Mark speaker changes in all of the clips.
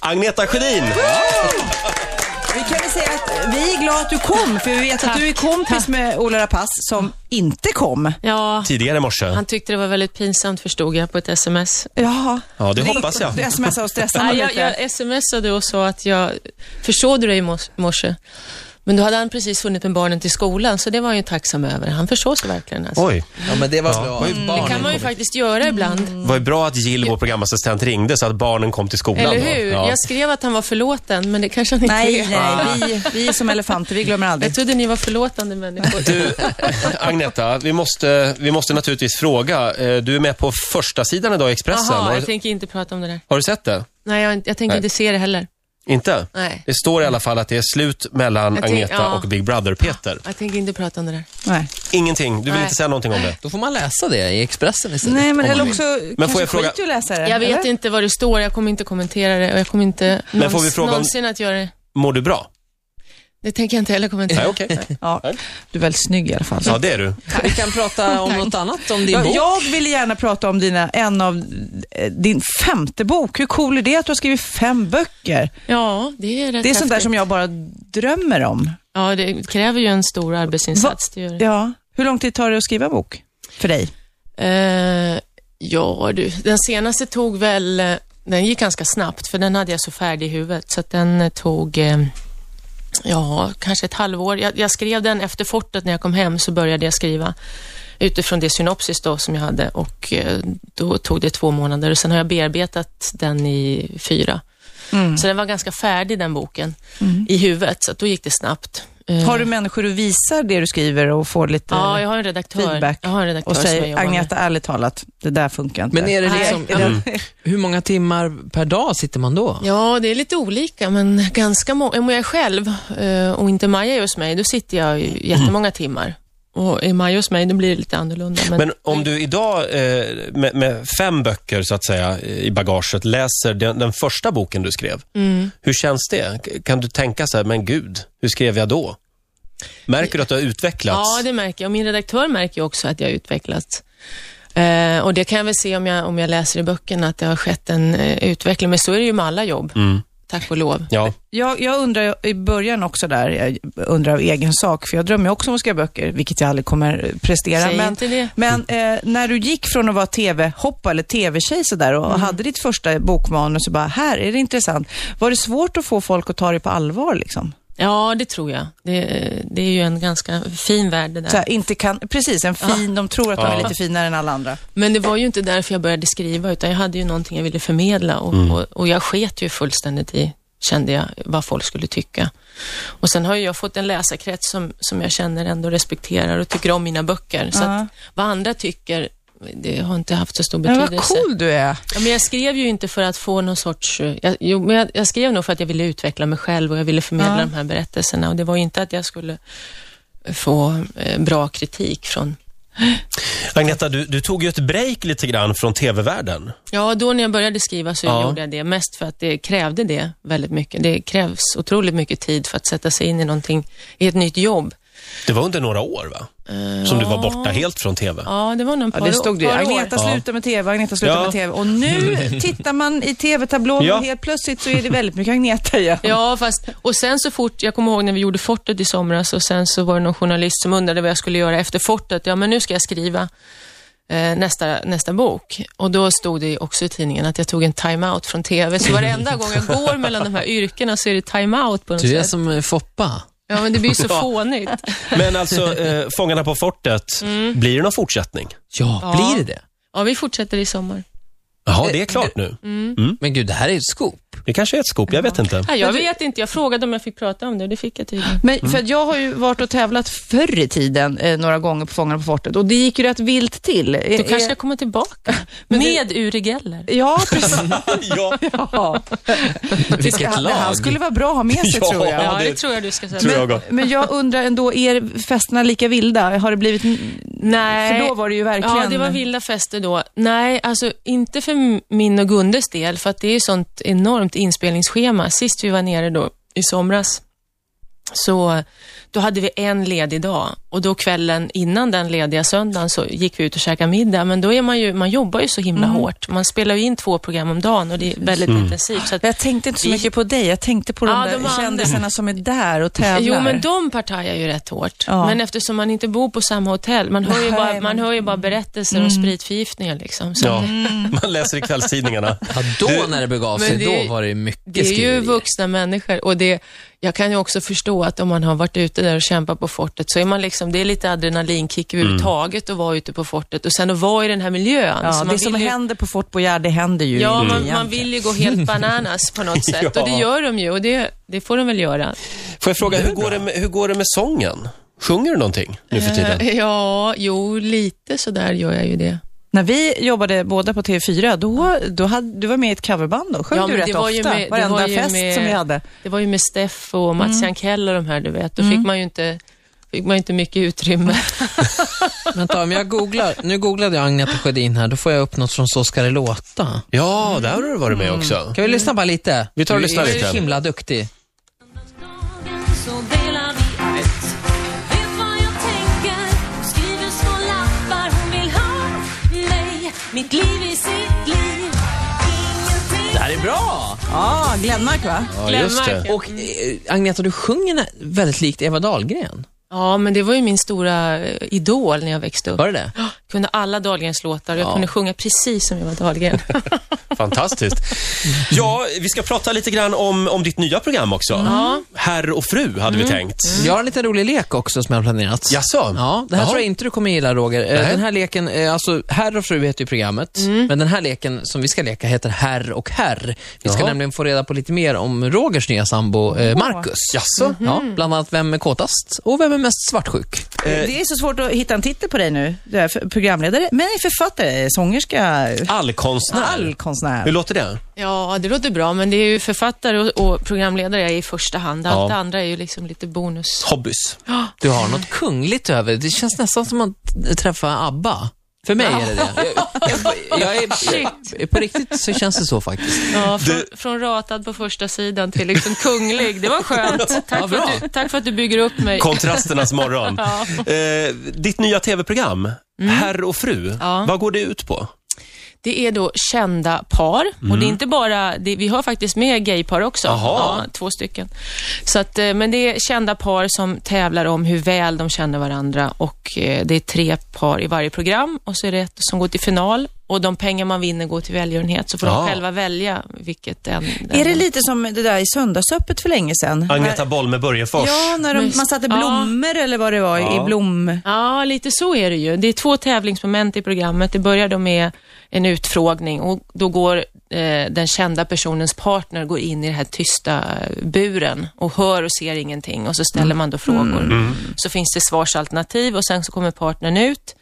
Speaker 1: Agneta Sjödin.
Speaker 2: Vi kan väl säga att vi är glada att du kom, för vi vet att
Speaker 3: Tack,
Speaker 2: du är kompis
Speaker 3: tack.
Speaker 2: med Ola Rapace som inte kom.
Speaker 3: Ja,
Speaker 1: Tidigare i morse.
Speaker 3: han tyckte det var väldigt pinsamt förstod jag på ett sms.
Speaker 2: Jaha.
Speaker 1: Ja, det
Speaker 2: Ring-
Speaker 1: hoppas jag.
Speaker 2: Du smsade och stressade
Speaker 3: Nej,
Speaker 2: honom
Speaker 3: jag,
Speaker 2: lite.
Speaker 3: jag smsade och sa att jag försov du dig i mos- morse. Men då hade han precis hunnit med barnen till skolan, så det var han ju tacksam över. Han försov sig verkligen. Alltså.
Speaker 1: Oj,
Speaker 4: Ja, men det var bra.
Speaker 1: var ju
Speaker 3: Det kan man ju faktiskt göra ibland,
Speaker 1: det var ju bra att Jill, vår programassistent, ringde så att barnen kom till skolan.
Speaker 3: eller
Speaker 1: då.
Speaker 3: hur?
Speaker 1: Ja.
Speaker 3: Jag skrev att han var förlåten, men det kanske han inte
Speaker 2: Nej,
Speaker 3: är.
Speaker 2: nej, vi, vi är som elefanter, vi glömmer aldrig.
Speaker 3: Jag trodde ni var förlåtande människor.
Speaker 1: Du, Agneta, vi måste, vi måste naturligtvis fråga. Eh, Du är med på första sidan idag i Expressen.
Speaker 3: Jaha,
Speaker 1: har,
Speaker 3: jag tänker inte prata om det där.
Speaker 1: har du sett det?
Speaker 3: Nej, jag, jag tänker
Speaker 1: Nej.
Speaker 3: inte se det heller.
Speaker 1: Inte?
Speaker 3: Nej.
Speaker 1: Det står i alla fall att det är slut mellan
Speaker 3: Jag tänk-
Speaker 1: Agneta
Speaker 3: ja.
Speaker 1: och Big Brother-Peter.
Speaker 3: Jag tänker inte prata om det där.
Speaker 2: Nej,
Speaker 1: Ingenting. Du vill
Speaker 3: Nej.
Speaker 1: inte säga någonting om det?
Speaker 4: Då får man läsa det i Expressen istället.
Speaker 2: nej men
Speaker 4: om man
Speaker 2: eller
Speaker 4: vill.
Speaker 2: också
Speaker 1: jag
Speaker 2: kanske
Speaker 1: fråga-
Speaker 2: skit i att läsa det.
Speaker 3: Jag vet
Speaker 2: eller?
Speaker 3: inte vad det står, jag kommer inte kommentera det och jag kommer inte
Speaker 1: Men får vi
Speaker 3: någons-
Speaker 1: fråga om-
Speaker 3: någonsin att göra det.
Speaker 1: Mår du bra?
Speaker 3: Det tänker jag inte heller kommentera.
Speaker 1: Nej, okej.
Speaker 2: Ja, du är väldigt snygg i alla fall.
Speaker 1: Ja, det är du.
Speaker 4: Vi kan prata om något annat, om din
Speaker 2: Jag,
Speaker 4: bok.
Speaker 2: jag vill gärna prata om dina, en av, eh, din femte bok. Hur cool är det att du har skrivit fem böcker?
Speaker 3: Ja, det är rätt
Speaker 2: Det är sånt där
Speaker 3: häftigt.
Speaker 2: som jag bara drömmer om.
Speaker 3: Ja, det kräver ju en stor arbetsinsats. Det gör det.
Speaker 2: Ja. Hur lång tid tar det att skriva en bok? För dig?
Speaker 3: Eh, ja, du. Den senaste tog väl... eh, Den gick ganska snabbt, för den hade jag så färdig i huvudet. Så att den eh, tog... eh, Ja, kanske ett halvår. Jag, jag skrev den efter fortet när jag kom hem, så började jag skriva utifrån det synopsis då som jag hade och eh, då tog det två månader och sen har jag bearbetat den i fyra.
Speaker 2: Mm.
Speaker 3: Så den var ganska färdig den boken i huvudet, så att då gick det snabbt. Eh,
Speaker 2: Har du människor du visar det du skriver och får lite
Speaker 3: Ja, jag har en redaktör.
Speaker 2: feedback?
Speaker 3: Jag har en redaktör
Speaker 2: och
Speaker 3: som jag
Speaker 2: säger,
Speaker 3: jobbar med. Mm.
Speaker 2: Agneta, ärligt talat, det där funkar inte.
Speaker 4: Men är det
Speaker 3: Nej.
Speaker 4: liksom, hur många timmar per dag sitter man då?
Speaker 3: Ja, det är lite olika, men ganska många. Om jag är själv eh, och inte Maja är hos mig, då sitter jag ju jättemånga timmar. Och är Maja hos mig, då blir det lite annorlunda. Men,
Speaker 1: Men om du idag eh, med, med fem böcker så att säga eh, i bagaget läser den, den första boken du skrev.
Speaker 3: Mm.
Speaker 1: Hur känns det? K- Kan du tänka så här, men gud, hur skrev jag då? Märker du att du har utvecklats?
Speaker 3: ja, det märker jag. Och Min redaktör märker ju också att jag har utvecklats. Eh, och det kan jag väl se om jag, om jag läser i böckerna, att det har skett en eh, utveckling. Men så är det ju med alla jobb, tack och lov.
Speaker 1: Ja.
Speaker 2: Jag, jag undrar ju i början också där, jag undrar av egen sak, för jag drömmer ju också om att skriva böcker, vilket jag aldrig kommer prestera.
Speaker 3: Säg
Speaker 2: men
Speaker 3: inte det.
Speaker 2: men eh, när du gick från att vara TV-hoppa eller TV-tjej sådär och
Speaker 3: Mm.
Speaker 2: hade ditt första bokmanus och bara, här är det intressant. Var det svårt att få folk att ta dig på allvar liksom?
Speaker 3: Ja, det tror jag. Det, det är ju en ganska fin värld det där.
Speaker 2: Såhär, inte kan, precis, en fin, de tror att de är lite finare än alla andra.
Speaker 3: Men det var ju inte därför jag började skriva, utan jag hade ju någonting jag ville förmedla och, och, och jag sket ju fullständigt i, kände jag, vad folk skulle tycka. Och sen har ju jag fått en läsarkrets som, som jag känner ändå respekterar och tycker om mina böcker. Så att vad andra tycker, det har inte haft så stor
Speaker 2: Men
Speaker 3: betydelse.
Speaker 2: vad cool du är.
Speaker 3: ja, men jag skrev ju inte för att få någon sorts... eh, Jag, jo, men jag, jag skrev nog för att jag ville utveckla mig själv och jag ville förmedla de här berättelserna och det var ju inte att jag skulle få eh, bra kritik från
Speaker 1: Agneta, du, du tog ju ett break lite grann från TV-världen.
Speaker 3: Ja, då när jag började skriva så
Speaker 1: Ja.
Speaker 3: gjorde jag det mest för att det krävde det väldigt mycket. Det krävs otroligt mycket tid för att sätta sig in i någonting, i ett nytt jobb.
Speaker 1: Det var under några år, va? Som du var borta helt från TV.
Speaker 3: Eh, Ja, det var nog en par,
Speaker 2: Ja, det stod det ju.
Speaker 3: par år.
Speaker 2: Agneta slutar med TV, Agneta slutar
Speaker 1: Ja.
Speaker 2: med TV. Och nu tittar man i TV-tablån
Speaker 1: Ja.
Speaker 2: och helt plötsligt så är det väldigt mycket Agneta igen.
Speaker 3: Ja, fast, och sen så fort, jag kommer ihåg när vi gjorde Fortet i somras och sen så var det någon journalist som undrade vad jag skulle göra efter Fortet. Ja, men nu ska jag skriva eh, nästa, nästa bok. Och då stod det också i tidningen att jag tog en time-out från TV. Så varenda gång jag går mellan de här yrkena så är det time-out på något
Speaker 4: Du är
Speaker 3: sätt.
Speaker 4: som eh, Foppa.
Speaker 3: Ja, men det blir ju så fånigt.
Speaker 1: Men alltså, eh, Fångarna på fortet,
Speaker 3: Mm.
Speaker 1: blir det någon fortsättning?
Speaker 4: Ja,
Speaker 3: Ja.
Speaker 4: blir det det?
Speaker 3: Ja, vi fortsätter i sommar.
Speaker 1: Jaha, det är klart nu.
Speaker 3: Mm.
Speaker 4: Men gud, det här är ju ett scoop.
Speaker 1: Det kanske är ett scoop, jag vet inte.
Speaker 3: Ja, jag vet inte. Jag frågade om jag fick prata om det och det fick jag tydligen.
Speaker 2: Men
Speaker 1: Mm.
Speaker 2: för att jag har ju varit och tävlat förr i tiden eh, några gånger på Fångarna på fortet och det gick ju rätt vilt till. Eh,
Speaker 3: Då kanske
Speaker 2: eh,
Speaker 3: jag kommer tillbaka med Uri Geller.
Speaker 2: Ja, precis.
Speaker 1: Ja,
Speaker 2: Ja.
Speaker 4: Vilket
Speaker 2: Han, han
Speaker 4: lag.
Speaker 2: skulle vara bra att ha med sig
Speaker 1: Ja.
Speaker 2: tror jag.
Speaker 3: Ja,
Speaker 1: det
Speaker 3: det tror jag du ska säga.
Speaker 1: tror jag också.
Speaker 2: Men jag undrar ändå, är festerna lika vilda? Har det blivit...
Speaker 3: Nej.
Speaker 2: För då var det ju verkligen...
Speaker 3: Ja, det var vilda fester då. Nej, alltså inte för m- min och Gundes del, för att det är ju sånt enormt inspelningsschema. Sist vi var nere då i somras, så Då hade vi en ledig dag och då kvällen innan den lediga söndagen så gick vi ut och käkade middag. Men då är man ju, man jobbar ju så himla hårt. Man spelar ju in två program om dagen och det är väldigt
Speaker 1: Mm.
Speaker 3: intensivt. Så att,
Speaker 2: Jag tänkte inte så mycket på dig, jag tänkte på de
Speaker 3: Ja,
Speaker 2: där
Speaker 3: de andra.
Speaker 2: kändisarna som är där och tävlar.
Speaker 3: Jo, men de partajar ju rätt hårt.
Speaker 2: Ja.
Speaker 3: Men eftersom man inte bor på samma hotell, man hör ju
Speaker 2: Nej, Mm.
Speaker 3: bara,
Speaker 2: men-
Speaker 3: man hör ju bara berättelser om spritförgiftningar. Liksom. Så
Speaker 1: Ja, man läser i kvällstidningarna.
Speaker 4: Ja, då när det begav sig,
Speaker 3: Men det-
Speaker 4: då var det mycket
Speaker 3: Det är ju
Speaker 4: skriverier.
Speaker 3: vuxna människor och det, jag kan ju också förstå att om man har varit ute där och kämpat på fortet så är man liksom, det är lite adrenalinkick överhuvudtaget att vara ute på fortet och sen att vara i den här miljön.
Speaker 2: ja,
Speaker 3: Så man
Speaker 2: det som
Speaker 3: vill ju,
Speaker 2: händer på Fort Boyard, det händer ju
Speaker 3: Ja,
Speaker 2: i
Speaker 3: man,
Speaker 2: Lian.
Speaker 3: man vill ju gå helt bananas på något sätt och det
Speaker 1: Ja.
Speaker 3: gör de ju och det, det får de väl göra.
Speaker 1: Får jag fråga, hur går, det med, hur går det med sången? Sjunger du någonting nu för tiden?
Speaker 3: Eh, Ja, jo, lite sådär gör jag ju det.
Speaker 2: När vi jobbade båda på TV4, då, då hade, du var med i ett coverband då. Sjöng
Speaker 3: Ja,
Speaker 2: du
Speaker 3: men
Speaker 2: rätt
Speaker 3: det var ju
Speaker 2: ofta,
Speaker 3: med- det
Speaker 2: varenda
Speaker 3: var ju
Speaker 2: fest
Speaker 3: med-
Speaker 2: som vi hade.
Speaker 3: Det var ju med Steff och Mats
Speaker 1: Mm.
Speaker 3: Jankell och de här, du vet. Då fick man ju inte, fick man ju inte mycket utrymme.
Speaker 4: Vänta, om jag googlar. Nu googlade jag Agneta Sjödin här. Då får jag upp något från Så ska det låta.
Speaker 1: Ja, där har du varit med
Speaker 3: Mm.
Speaker 1: också.
Speaker 4: Kan vi lyssna bara lite?
Speaker 1: Vi tar och lyssnar
Speaker 4: du är
Speaker 1: lite.
Speaker 4: ju himla duktig.
Speaker 5: Så delar vi allt Vet vad jag tänker Skriver små lappar Hon vill ha mig Mitt liv i sitt liv Ingenting
Speaker 4: Det här är bra!
Speaker 2: Ja, Glenmark va?
Speaker 1: Ja, just det.
Speaker 3: Glenmark.
Speaker 4: Och eh, Agneta, du sjunger nä- väldigt likt Eva Dahlgren.
Speaker 3: Ja, men det var ju min stora eh, idol när jag växte upp.
Speaker 4: Var det det?
Speaker 3: kunde alla Dahlgrens låtar och jag kunde sjunga precis som Eva Dahlgren.
Speaker 1: Fantastiskt. Ja, vi ska prata lite grann om, om ditt nya program också. Herr och fru hade
Speaker 3: Mm.
Speaker 1: vi tänkt.
Speaker 4: Jag har en liten rolig lek också som jag har planerat.
Speaker 1: Jaså?
Speaker 4: Ja, det här
Speaker 1: Jaha.
Speaker 4: tror jag inte du kommer gilla Roger. Eh,
Speaker 1: Nej.
Speaker 4: Den här leken, eh, alltså herr och fru heter ju programmet, men den här leken som vi ska leka heter herr och herr. Vi ska
Speaker 1: Jaha.
Speaker 4: nämligen få reda på lite mer om Rogers nya sambo eh, Marcus.
Speaker 1: Jaså?
Speaker 4: Ja, bland annat vem är kåtast och vem är mest svartsjuk.
Speaker 3: Eh.
Speaker 2: Det är så svårt att hitta en titel på dig nu. Du är för- programledare, men författare, sångerska,
Speaker 1: Allkonstnär. Hur
Speaker 2: allkonstnär.
Speaker 1: låter det?
Speaker 3: ja, det låter bra, men det är ju författare och, och programledare jag är i första hand. Allt
Speaker 1: Ja.
Speaker 3: det andra är ju liksom lite bonus.
Speaker 1: Hobbys.
Speaker 4: Du har något kungligt över det. Det känns nästan som att träffa ABBA. För mig är det det. Jag, jag, jag är, på riktigt så känns det så faktiskt.
Speaker 3: Ja, från, från ratad på första sidan till liksom kunglig. Det var skönt. Tack, för, att du, tack för att du bygger upp mig.
Speaker 1: Kontrasternas morgon.
Speaker 3: Ja. Mm.
Speaker 1: eh, ditt nya tv-program, Herr och fru,
Speaker 3: Ja.
Speaker 1: vad går det ut på?
Speaker 3: Det är då kända par och det är inte bara, det, vi har faktiskt med gaypar också.
Speaker 1: Mm. Jaha.
Speaker 3: Ja, två stycken. Så att, eh, men det är kända par som tävlar om hur väl de känner varandra och eh, det är tre par i varje program och så är det ett som går till final och de pengar man vinner går till välgörenhet så får
Speaker 1: Ja.
Speaker 3: de själva välja vilket en...
Speaker 2: Är det lite som det där i Söndagsöppet för länge sedan?
Speaker 1: Agneta Bollme Börjefors.
Speaker 2: Ja, när de,
Speaker 3: Just-
Speaker 2: man satte
Speaker 3: ja.
Speaker 2: blommor eller vad det var i
Speaker 1: Ja.
Speaker 2: blom...
Speaker 3: Ja, lite så är det ju. Det är två tävlingsmoment i programmet. Det börjar då med en utfrågning och då går eh, den kända personens partner går in i den här tysta eh, buren och hör och ser ingenting och så ställer man då frågor. Så finns det svarsalternativ och sen så kommer partnern ut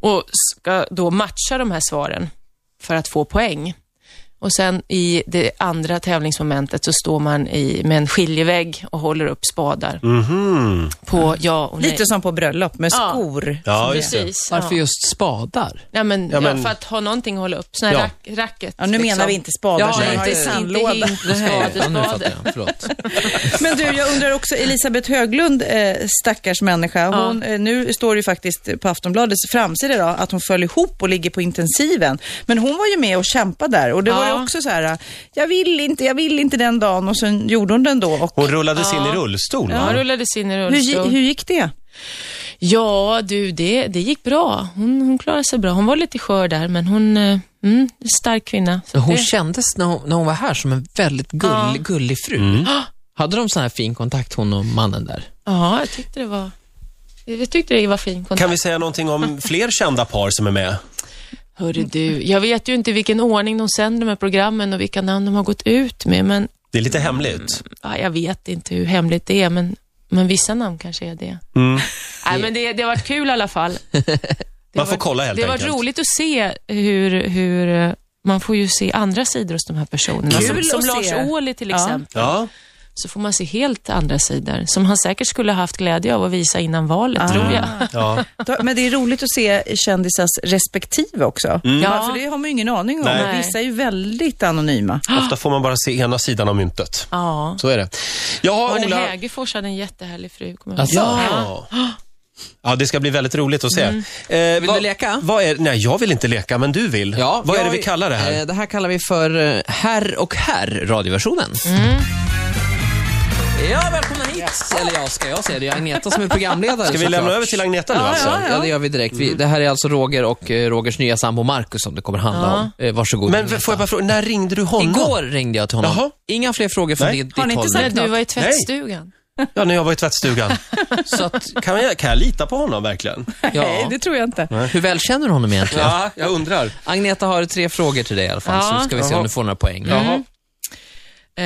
Speaker 3: och ska då matcha de här svaren för att få poäng. Och sen i det andra tävlingsmomentet så står man i, med en skiljevägg och håller upp spadar
Speaker 1: Mhm.
Speaker 3: på ja och nej.
Speaker 2: Lite som på bröllop med
Speaker 3: Ja.
Speaker 2: skor.
Speaker 1: Ja, just det.
Speaker 3: Precis.
Speaker 4: Varför
Speaker 3: ja.
Speaker 4: just spadar?
Speaker 3: Nej, men,
Speaker 1: Ja,
Speaker 3: ja,
Speaker 1: men-
Speaker 3: för att ha någonting att hålla upp. Sån här
Speaker 1: Ja.
Speaker 3: rack, racket. liksom.
Speaker 2: Ja, nu menar vi inte spadar,
Speaker 4: Ja,
Speaker 2: som
Speaker 4: nej,
Speaker 2: vi har i
Speaker 4: inte- inte
Speaker 2: sandlådan.
Speaker 4: Nej, ja, nu
Speaker 3: Hinterspade.
Speaker 4: fattar jag. Förlåt.
Speaker 2: Men du, jag undrar också, Elisabeth Höglund, eh, stackars människa, hon, eh, nu står det ju faktiskt på Aftonbladets framsida idag att hon föll ihop och ligger på intensiven. Men hon var ju med och kämpade där och det var ju
Speaker 3: Ja.
Speaker 2: också så här, eh, jag vill inte, jag vill inte den dagen och sen gjorde hon den då. Och
Speaker 1: Hon rullades in i rullstol,
Speaker 3: Ja,
Speaker 1: va?
Speaker 3: rullades in i
Speaker 2: hur, gi-
Speaker 3: rullstol.
Speaker 2: hur gick det?
Speaker 3: Ja, du, det, det gick bra. Hon, hon klarade sig bra. Hon var lite skör där, men hon... eh, Mm, stark kvinna. Så
Speaker 4: Men Hon
Speaker 3: det-
Speaker 4: kändes när hon, när hon var här som en väldigt gull, gullig fru. Ah! Hade de sån här fin kontakt, hon och mannen där?
Speaker 3: Ja, jag tyckte det var... Jag tyckte det var fin kontakt.
Speaker 1: Kan vi säga någonting om fler kända par som är med?
Speaker 3: Hörru du, jag vet ju inte i vilken ordning de sänder de här programmen och vilka namn de har gått ut med, men
Speaker 1: Det är lite hemligt.
Speaker 3: ja, jag vet inte hur hemligt det är, men, men vissa namn kanske är det.
Speaker 1: Mm.
Speaker 3: Nej, men det, det har varit kul i alla fall. Det
Speaker 1: Man
Speaker 3: har
Speaker 1: får
Speaker 3: varit-
Speaker 1: kolla helt
Speaker 3: Det har varit
Speaker 1: enkelt.
Speaker 3: roligt att se hur, hur eh, man får ju se andra sidor hos de här personerna.
Speaker 2: Kul
Speaker 3: som som
Speaker 2: att
Speaker 3: Lars
Speaker 2: se.
Speaker 3: Ohly till
Speaker 2: Ja.
Speaker 3: exempel,
Speaker 1: Ja,
Speaker 3: så får man se helt andra sidor som han säkert skulle haft glädje av att visa innan valet,
Speaker 2: Ah.
Speaker 3: tror jag.
Speaker 1: Ja.
Speaker 2: Då- Men det är roligt att se kändisars respektive också. Ja.
Speaker 3: Ja.
Speaker 2: För det har man ju ingen aning om.
Speaker 1: Mm. Nej.
Speaker 2: Vissa är ju väldigt anonyma.
Speaker 1: Ofta får man bara se ena sidan av myntet.
Speaker 3: Ja.
Speaker 1: Så är det. Ja,
Speaker 3: Arne
Speaker 1: Ola.
Speaker 3: Hägerfors hade en jättehärlig fru, kommer jag ihåg.
Speaker 4: Alltså,
Speaker 1: Ja. Ja, det ska bli väldigt roligt att se. Eh,
Speaker 4: Mm. Vill du leka?
Speaker 1: Vad är, nej, jag vill inte leka, men du vill.
Speaker 4: Ja,
Speaker 1: vad är det
Speaker 4: jag-
Speaker 1: vi kallar det här?
Speaker 4: eh, Det här kallar vi för eh, Herr och Herr, radioversionen. Ja, välkomna hit. Eller ja, ska jag säga det? Jag är Agneta som är programledare.
Speaker 1: Ska vi
Speaker 4: såklart.
Speaker 1: lämna över till Agneta nu alltså?
Speaker 4: Ja, det gör vi direkt. Vi, det här är alltså Roger och eh, Rogers nya sambo Marcus som det kommer handla om. Eh, varsågod.
Speaker 1: Men får jag bara fråga, när ringde du honom?
Speaker 4: Igår ringde jag till honom.
Speaker 1: Jaha.
Speaker 4: Inga fler frågor från
Speaker 1: Nej.
Speaker 4: ditt, ditt
Speaker 2: Har ni inte
Speaker 4: håll.
Speaker 2: sagt-
Speaker 3: Nej, du var i
Speaker 1: Nej.
Speaker 3: tvättstugan.
Speaker 1: Ja, när jag var i tvättstugan. Så att, kan, jag, kan jag lita på honom verkligen?
Speaker 2: Nej,
Speaker 4: Ja.
Speaker 2: det tror jag inte.
Speaker 4: Hur väl känner du honom egentligen?
Speaker 1: Ja, jag undrar.
Speaker 4: Agneta har tre frågor till dig i alla fall,
Speaker 3: Ja.
Speaker 4: så ska vi se om du får några poäng.
Speaker 1: Jaha.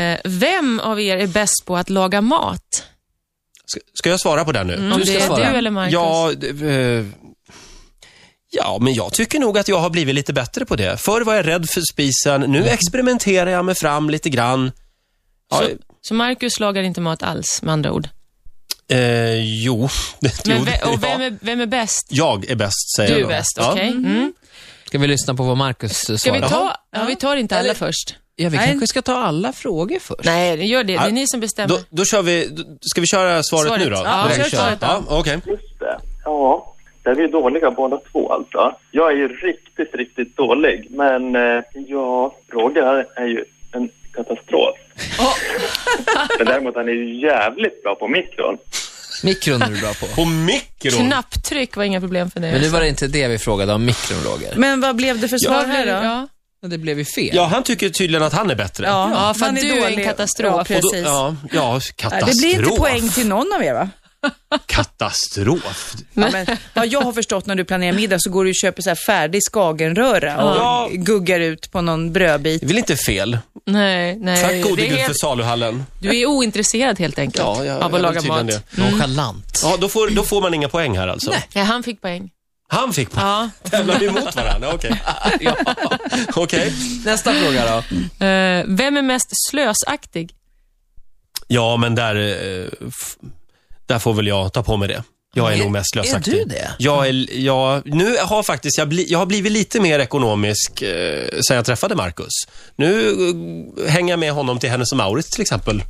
Speaker 3: Eh, vem av er är bäst på att laga mat?
Speaker 1: Ska, ska jag svara på det nu?
Speaker 3: Om
Speaker 4: Du ska
Speaker 3: det är
Speaker 4: svara.
Speaker 3: du eller Marcus?
Speaker 1: Ja, d- eh, ja, men jag tycker nog att jag har blivit lite bättre på det. Förr var jag rädd för spisen, nu
Speaker 3: Mm.
Speaker 1: experimenterar jag mig fram lite grann. Ja,
Speaker 3: Så Marcus lagar inte mat alls, med andra ord.
Speaker 1: eh, jo, det
Speaker 3: Men
Speaker 1: jo,
Speaker 3: ve- och vem
Speaker 1: ja.
Speaker 3: är, vem är bäst?
Speaker 1: Jag är bäst, säger
Speaker 3: Du är
Speaker 1: jag då.
Speaker 3: bäst,
Speaker 1: Ja.
Speaker 3: okej. Mm.
Speaker 4: Ska vi lyssna på vad Marcus eh,
Speaker 3: Ska vi
Speaker 4: svarar?
Speaker 3: ta... Ja, vi tar inte alla först.
Speaker 4: Ja, vi
Speaker 2: Nej.
Speaker 4: kanske ska ta alla frågor först.
Speaker 3: Nej, gör det. Det är ni som bestämmer.
Speaker 1: Då, då kör vi, d- ska vi köra svaret,
Speaker 3: Svaret.
Speaker 1: nu då?
Speaker 3: Ja,
Speaker 1: Direkt
Speaker 3: kör svaret då.
Speaker 1: Ja, okej.
Speaker 6: Just det. Ja, där vi är dåliga båda två alltså. Jag är ju riktigt, riktigt dålig. Men eh, ja, Roger är ju en katastrof. men däremot han är ju jävligt bra på mikron.
Speaker 4: Mikron är du bra på.
Speaker 1: På mikron.
Speaker 3: Knapptryck var inga problem för dig.
Speaker 4: Men nu var det inte det vi frågade om mikron, Roger.
Speaker 2: Men vad blev det för svar här då?
Speaker 3: Ja,
Speaker 4: Det blev ju fel.
Speaker 1: Ja, han tycker tydligen att han är bättre.
Speaker 3: ja för
Speaker 2: man
Speaker 3: att du är en katastrof.
Speaker 2: Ja,
Speaker 3: Och då-
Speaker 1: Och då,
Speaker 2: precis.
Speaker 1: ja, ja,
Speaker 2: Nej,
Speaker 1: katastrof.
Speaker 2: Det blir inte poäng till någon av er va?
Speaker 1: Katastrof.
Speaker 2: Ja, men, vad jag har förstått när du planerar middag så går du och köper så här färdig skagenröra och
Speaker 1: Ja.
Speaker 2: guggar ut på någon brödbit.
Speaker 1: Det är väl inte fel?
Speaker 3: nej, nej.
Speaker 1: Tack gode
Speaker 3: det är
Speaker 1: gud för
Speaker 3: helt,
Speaker 1: saluhallen.
Speaker 3: du är ointresserad helt enkelt
Speaker 1: Ja, jag-
Speaker 3: av
Speaker 1: jag
Speaker 3: att
Speaker 1: vill
Speaker 3: laga
Speaker 1: tydligen
Speaker 3: mat.
Speaker 1: det.
Speaker 4: Nonchalant.
Speaker 1: Ja, då får, då får man inga poäng här alltså.
Speaker 3: Nej, han fick poäng.
Speaker 1: Han fick poäng.
Speaker 3: Ja.
Speaker 1: Tävlar vi mot varandra? Okej.
Speaker 4: Ja.
Speaker 1: Okej.
Speaker 4: Nästa fråga då.
Speaker 3: Eh, vem är mest slösaktig?
Speaker 1: Ja, men där, eh, f- där får väl jag ta på mig det. Jag är, nog mest slösaktig.
Speaker 4: är du det?
Speaker 1: Jag är, jag, nu har faktiskt, jag, bli, jag har blivit lite mer ekonomisk eh, sen jag träffade Marcus. Nu eh, hänger jag med honom till Hennes och Mauritz till exempel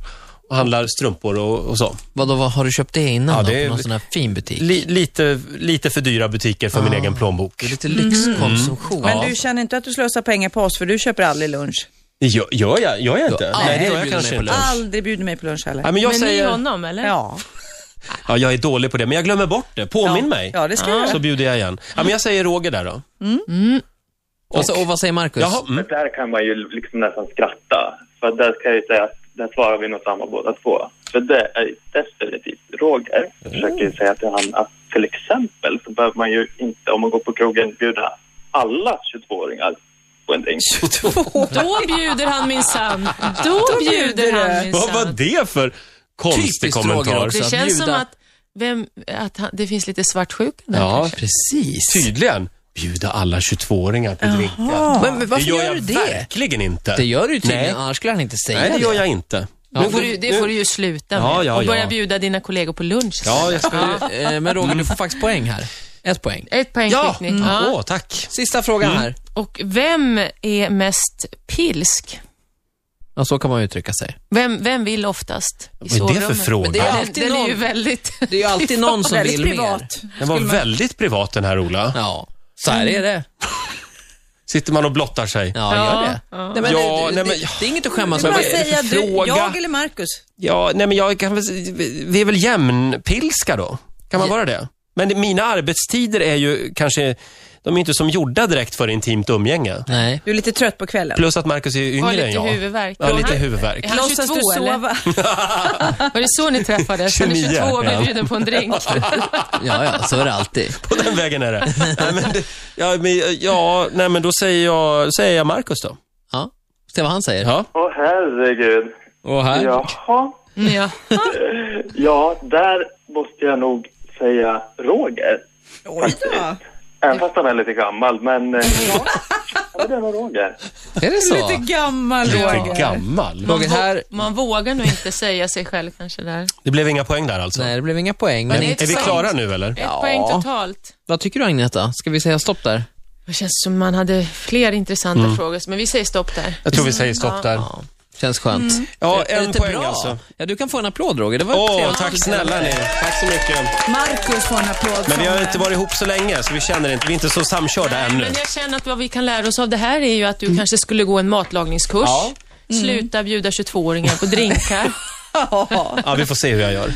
Speaker 1: och handlar strumpor och, och så.
Speaker 4: Vadå, vad, har du köpt det innan
Speaker 1: Ja,
Speaker 4: då?
Speaker 1: det är-
Speaker 4: På någon sån här fin butik?
Speaker 1: Li, lite, lite för dyra butiker för
Speaker 4: Ah.
Speaker 1: min egen plånbok.
Speaker 4: Det är lite lyxkonsumtion.
Speaker 2: Men du känner inte att du slösar pengar på oss för du köper aldrig lunch.
Speaker 1: Det Gör, gör jag, gör jag inte?
Speaker 4: Du
Speaker 1: Nej,
Speaker 4: har
Speaker 1: det
Speaker 4: aldrig
Speaker 1: gör jag
Speaker 4: bjudit
Speaker 1: kanske
Speaker 4: mig på
Speaker 1: inte.
Speaker 4: lunch.
Speaker 2: Aldrig bjuder mig på lunch heller.
Speaker 1: Nej, men jag
Speaker 3: men ni
Speaker 1: säger...
Speaker 3: honom, eller?
Speaker 2: Ja.
Speaker 1: Ja, jag är dålig på det, men jag glömmer bort det. Påminn
Speaker 2: Ja.
Speaker 1: mig.
Speaker 2: Ja, det ska jag göra.
Speaker 1: Så bjuder jag igen. Ja, men jag säger Roger där då.
Speaker 4: Och, så, och vad säger Marcus?
Speaker 1: Jaha, mm.
Speaker 6: Där kan man ju liksom nästan skratta. För där kan jag ju säga att där svarar vi nog samma båda två. För det är definitivt Roger. Jag försöker ju säga till han att till exempel så behöver man ju inte om man går på krogen bjuda alla 22-åringar på en drink.
Speaker 3: Då bjuder han minsann. Då bjuder han
Speaker 1: Vad var
Speaker 3: minsann.
Speaker 1: det för konstig
Speaker 4: Typiskt Roger
Speaker 1: kommentar?
Speaker 4: också.
Speaker 3: Det
Speaker 4: Att
Speaker 3: känns som
Speaker 4: bjuda.
Speaker 3: att, vem, att han, det finns lite svartsjuka där.
Speaker 1: Ja,
Speaker 4: Precis.
Speaker 1: tydligen. Bjuda alla 22-åringar på drinkar.
Speaker 4: Men, men varför
Speaker 1: det gör
Speaker 4: gör,
Speaker 1: jag
Speaker 4: du det?
Speaker 1: verkligen inte.
Speaker 4: Det gör du ju tydligen,
Speaker 1: Nej.
Speaker 4: annars skulle han inte säga
Speaker 1: Nej, det
Speaker 4: det.
Speaker 1: gör jag inte.
Speaker 3: Det får du, det får du ju sluta med.
Speaker 1: Ja, ja,
Speaker 3: och börja
Speaker 1: ja.
Speaker 3: bjuda dina kollegor på lunch.
Speaker 1: Ja, jag ska...
Speaker 4: Eh, eh, Men Roger, du får faktiskt poäng här. Ett poäng.
Speaker 3: Ett poäng
Speaker 1: Ja,
Speaker 3: fick ni.
Speaker 1: mm.
Speaker 3: Ja.
Speaker 1: Åh, tack.
Speaker 4: Sista frågan
Speaker 1: Mm.
Speaker 4: här.
Speaker 3: Och vem är mest pilsk?
Speaker 4: Ja, så kan man ju uttrycka sig.
Speaker 3: Vem, vem vill oftast i
Speaker 1: Vad är det för
Speaker 3: sovrummet?
Speaker 1: fråga?
Speaker 4: Men det är-
Speaker 3: Den-
Speaker 4: Alltid
Speaker 3: Den är ju
Speaker 4: någon.
Speaker 3: väldigt...
Speaker 4: Det är ju alltid någon som
Speaker 2: Väldigt
Speaker 4: vill mer.
Speaker 2: privat.
Speaker 1: Den var väldigt privat den här Ola.
Speaker 4: Ja, så här är det.
Speaker 1: Sitter man och blottar sig.
Speaker 4: Ja,
Speaker 3: Ja,
Speaker 4: gör det.
Speaker 3: ja.
Speaker 4: Nej, men
Speaker 1: Ja,
Speaker 4: det, det,
Speaker 1: nej, men-
Speaker 4: det, det är inget att skämmas
Speaker 2: Bara
Speaker 4: över.
Speaker 2: säga du,
Speaker 1: fråga?
Speaker 2: jag eller Marcus.
Speaker 1: Ja, nej men jag kan väl, vi är väl jämnpilska då? Kan man vara det? Men mina arbetstider är ju kanske, de är inte som gjorda direkt för intimt umgänge.
Speaker 4: Nej.
Speaker 2: Du är lite trött på kvällen.
Speaker 1: Plus att Marcus är ju
Speaker 3: Har
Speaker 1: yngre
Speaker 3: lite
Speaker 1: än jag.
Speaker 3: huvudvärk.
Speaker 1: Ja, lite
Speaker 3: Han-
Speaker 1: huvudvärk.
Speaker 3: Är han 22
Speaker 2: Låtsas du
Speaker 3: eller?
Speaker 2: sova?
Speaker 3: Var det så ni träffades? Han är
Speaker 1: 29,
Speaker 3: 22 och
Speaker 1: ja.
Speaker 3: blir bjuden på en drink.
Speaker 4: Ja, ja, så är det alltid.
Speaker 1: På den vägen är det. nej, men det ja, men, ja, nej men då säger jag, säger jag Marcus då.
Speaker 4: Ja. Se vad han säger.
Speaker 1: Ja.
Speaker 6: Åh herregud.
Speaker 4: Och här.
Speaker 6: Jaha.
Speaker 3: Mm, ja.
Speaker 6: Ja, där måste jag nog säga Roger.
Speaker 2: Oj då.
Speaker 6: Även fast han är lite gammal, men... eh, Ja, ja, men det var Roger.
Speaker 4: Är det så?
Speaker 2: Lite gammal
Speaker 1: Lite
Speaker 2: Roger.
Speaker 1: gammal.
Speaker 4: Roger, här...
Speaker 3: Man vågar nog inte säga sig själv kanske där.
Speaker 1: Det blev inga poäng där alltså.
Speaker 4: Nej, det blev inga poäng. Men
Speaker 3: det är-
Speaker 1: Är vi klara nu eller?
Speaker 3: Ett
Speaker 4: Ja.
Speaker 3: poäng totalt.
Speaker 4: vad tycker du Agneta? Ska vi säga stopp där?
Speaker 3: Det känns som man hade fler intressanta frågor, men vi säger stopp där.
Speaker 1: Jag tror vi säger stopp där.
Speaker 4: Ja, känns skönt.
Speaker 1: Ja,
Speaker 4: Är det
Speaker 1: en
Speaker 4: inte
Speaker 1: poäng
Speaker 4: bra?
Speaker 1: alltså.
Speaker 4: Ja, du kan få en applåd Roger. Det var
Speaker 1: Åh,
Speaker 4: trevligt.
Speaker 1: tack snälla ni. Tack så mycket.
Speaker 2: Marcus får en applåd.
Speaker 1: Men vi har
Speaker 2: från-
Speaker 1: inte varit ihop så länge, så vi känner inte, vi är inte så samkörda
Speaker 3: Nej,
Speaker 1: ännu.
Speaker 3: men jag känner att vad vi kan lära oss av det här är ju att du kanske skulle gå en matlagningskurs. Mm. Sluta bjuda 22-åringar på drinkar.
Speaker 2: Ja.
Speaker 1: Ja, vi får se hur jag gör.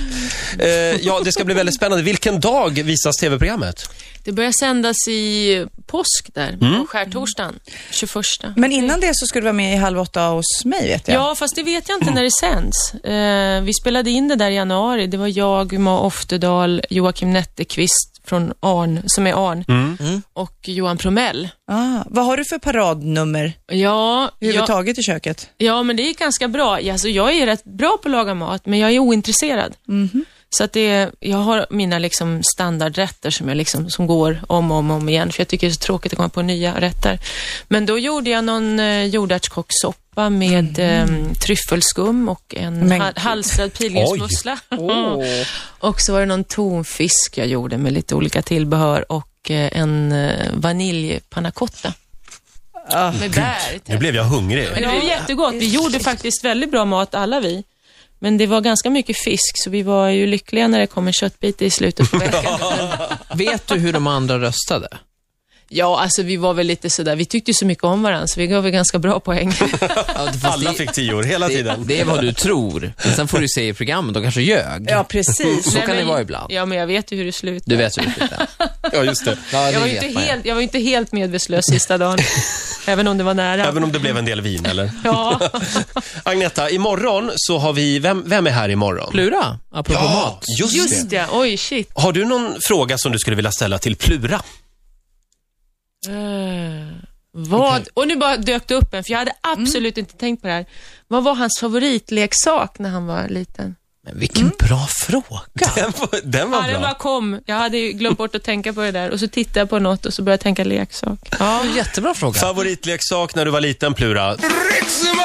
Speaker 1: Eh, ja, det ska bli väldigt spännande. Vilken dag visas tv-programmet?
Speaker 3: Det börjar sändas i påsk där, på skärtorsdagen, 21.
Speaker 2: Men innan det så skulle du vara med i Halv åtta hos mig vet jag.
Speaker 3: Ja, fast det vet jag inte när det sänds. Eh, vi spelade in det där i januari. Det var jag, Uma Oftedal, Joakim Netteqvist från Arn, som är Arn, och Johan Promell.
Speaker 2: Ah, vad har du för paradnummer
Speaker 3: Ja, ja,
Speaker 2: överhuvudtaget i köket?
Speaker 3: Ja, men det gick ganska bra. Alltså, jag är rätt bra på att laga mat, men jag är ointresserad.
Speaker 2: Mhm.
Speaker 3: Så att det, jag har mina liksom standardrätter som, jag liksom, som går om och om, och om igen, för jag tycker det är så tråkigt att komma på nya rätter. Men då gjorde jag någon eh, jordärtskockssoppa med eh, tryffelskum och en
Speaker 2: Mhm. Men
Speaker 3: ha,
Speaker 2: gud.
Speaker 3: halstrad pilgrimsmussla. och så var det någon tonfisk jag gjorde med lite olika tillbehör och eh, en eh, vaniljpannacotta.
Speaker 2: Ah.
Speaker 3: Med bär.
Speaker 1: Nu blev jag hungrig.
Speaker 3: Men det blev jättegott. Vi gjorde faktiskt väldigt bra mat alla vi. Men det var ganska mycket fisk, så vi var ju lyckliga när det kom en köttbit i slutet på veckan.
Speaker 4: Vet du hur de andra röstade?
Speaker 3: ja, alltså vi var väl lite sådär, vi tyckte ju så mycket om varandra, så vi gav väl ganska bra poäng.
Speaker 4: Ja, fast
Speaker 1: Alla
Speaker 4: det-
Speaker 1: fick tio år hela
Speaker 4: det,
Speaker 1: tiden.
Speaker 4: det är vad du tror. Men sen får du se i programmet, de kanske ljög.
Speaker 2: Ja, precis.
Speaker 4: Så
Speaker 3: Nej,
Speaker 4: kan det
Speaker 3: men-
Speaker 4: vara ibland.
Speaker 3: Ja, men jag vet ju hur det slutade.
Speaker 4: Du vet hur det slutar.
Speaker 1: Ja, just det.
Speaker 4: Ja, det
Speaker 3: jag, var ju
Speaker 4: vet
Speaker 3: inte
Speaker 4: man ju.
Speaker 3: helt, jag var ju inte helt medvetslös sista dagen, även om det var nära.
Speaker 1: Även om det blev en del vin, eller?
Speaker 3: Ja,
Speaker 1: Agneta, imorgon så har vi... Vem, vem är här imorgon?
Speaker 4: Plura, apropå mat.
Speaker 1: just,
Speaker 3: just
Speaker 1: det.
Speaker 3: det. Oj, shit.
Speaker 1: Har du någon fråga som du skulle vilja ställa till Plura?
Speaker 3: Eh, vad? Och nu bara dök det upp en, för jag hade absolut inte tänkt på det här. Vad var hans favoritleksak när han var liten?
Speaker 4: Men vilken bra fråga.
Speaker 1: Den var, den var
Speaker 3: Mm. Ja, den bara
Speaker 1: bra.
Speaker 3: kom. Jag hade ju glömt bort att tänka på det där och så tittade jag på något och så började jag tänka leksak.
Speaker 4: Ja, jättebra fråga.
Speaker 1: Favoritleksak när du var liten, Plura?
Speaker 7: Riksmorgon